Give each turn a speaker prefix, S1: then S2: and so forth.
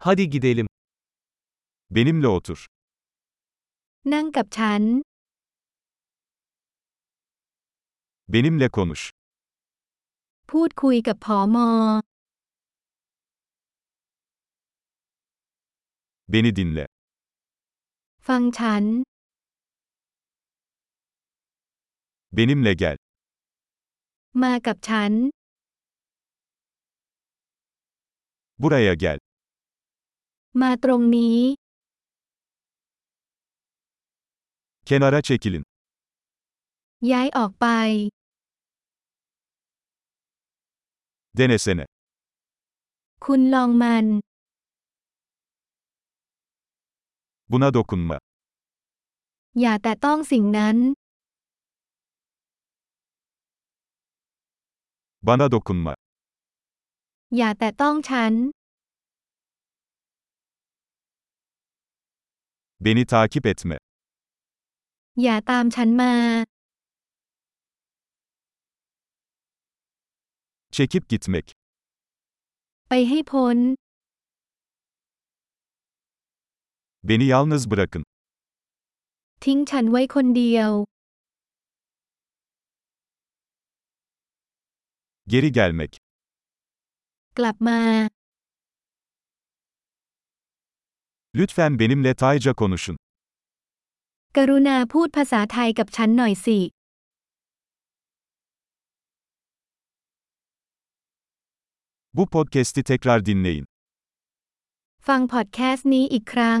S1: Hadi gidelim. Benimle otur.
S2: นั่งกับฉัน
S1: Benimle konuş.
S2: พูดคุยกับผอมอ
S1: Beni dinle.
S2: ฟังฉัน
S1: Benimle gel.
S2: มากับฉัน
S1: Buraya gel.
S2: มาตรงนี้
S1: Kenara çekilin.
S2: ย้ายออกไป
S1: Denesene.
S2: คุณลองมัน
S1: Buna dokunma.
S2: อย่าแต่ต้องสิ่งนั้น
S1: Bana dokunma.
S2: อย่าแต่ต้องฉัน
S1: Beni takip etme.
S2: อย่าตามฉันมา
S1: Çekip gitmek.
S2: ไปให้พ้น
S1: Beni yalnız bırakın.
S2: ทิ้งฉันไว้คนเดียว
S1: Geri gelmek.
S2: กลับมา
S1: Lütfen benimle Tayca konuşun.
S2: กรุณาพูดภาษาไทยกับฉันหน่อยสิ
S1: Bu podcast'i tekrar dinleyin.
S2: ฟังพอดแคสต์นี้อีกครั้ง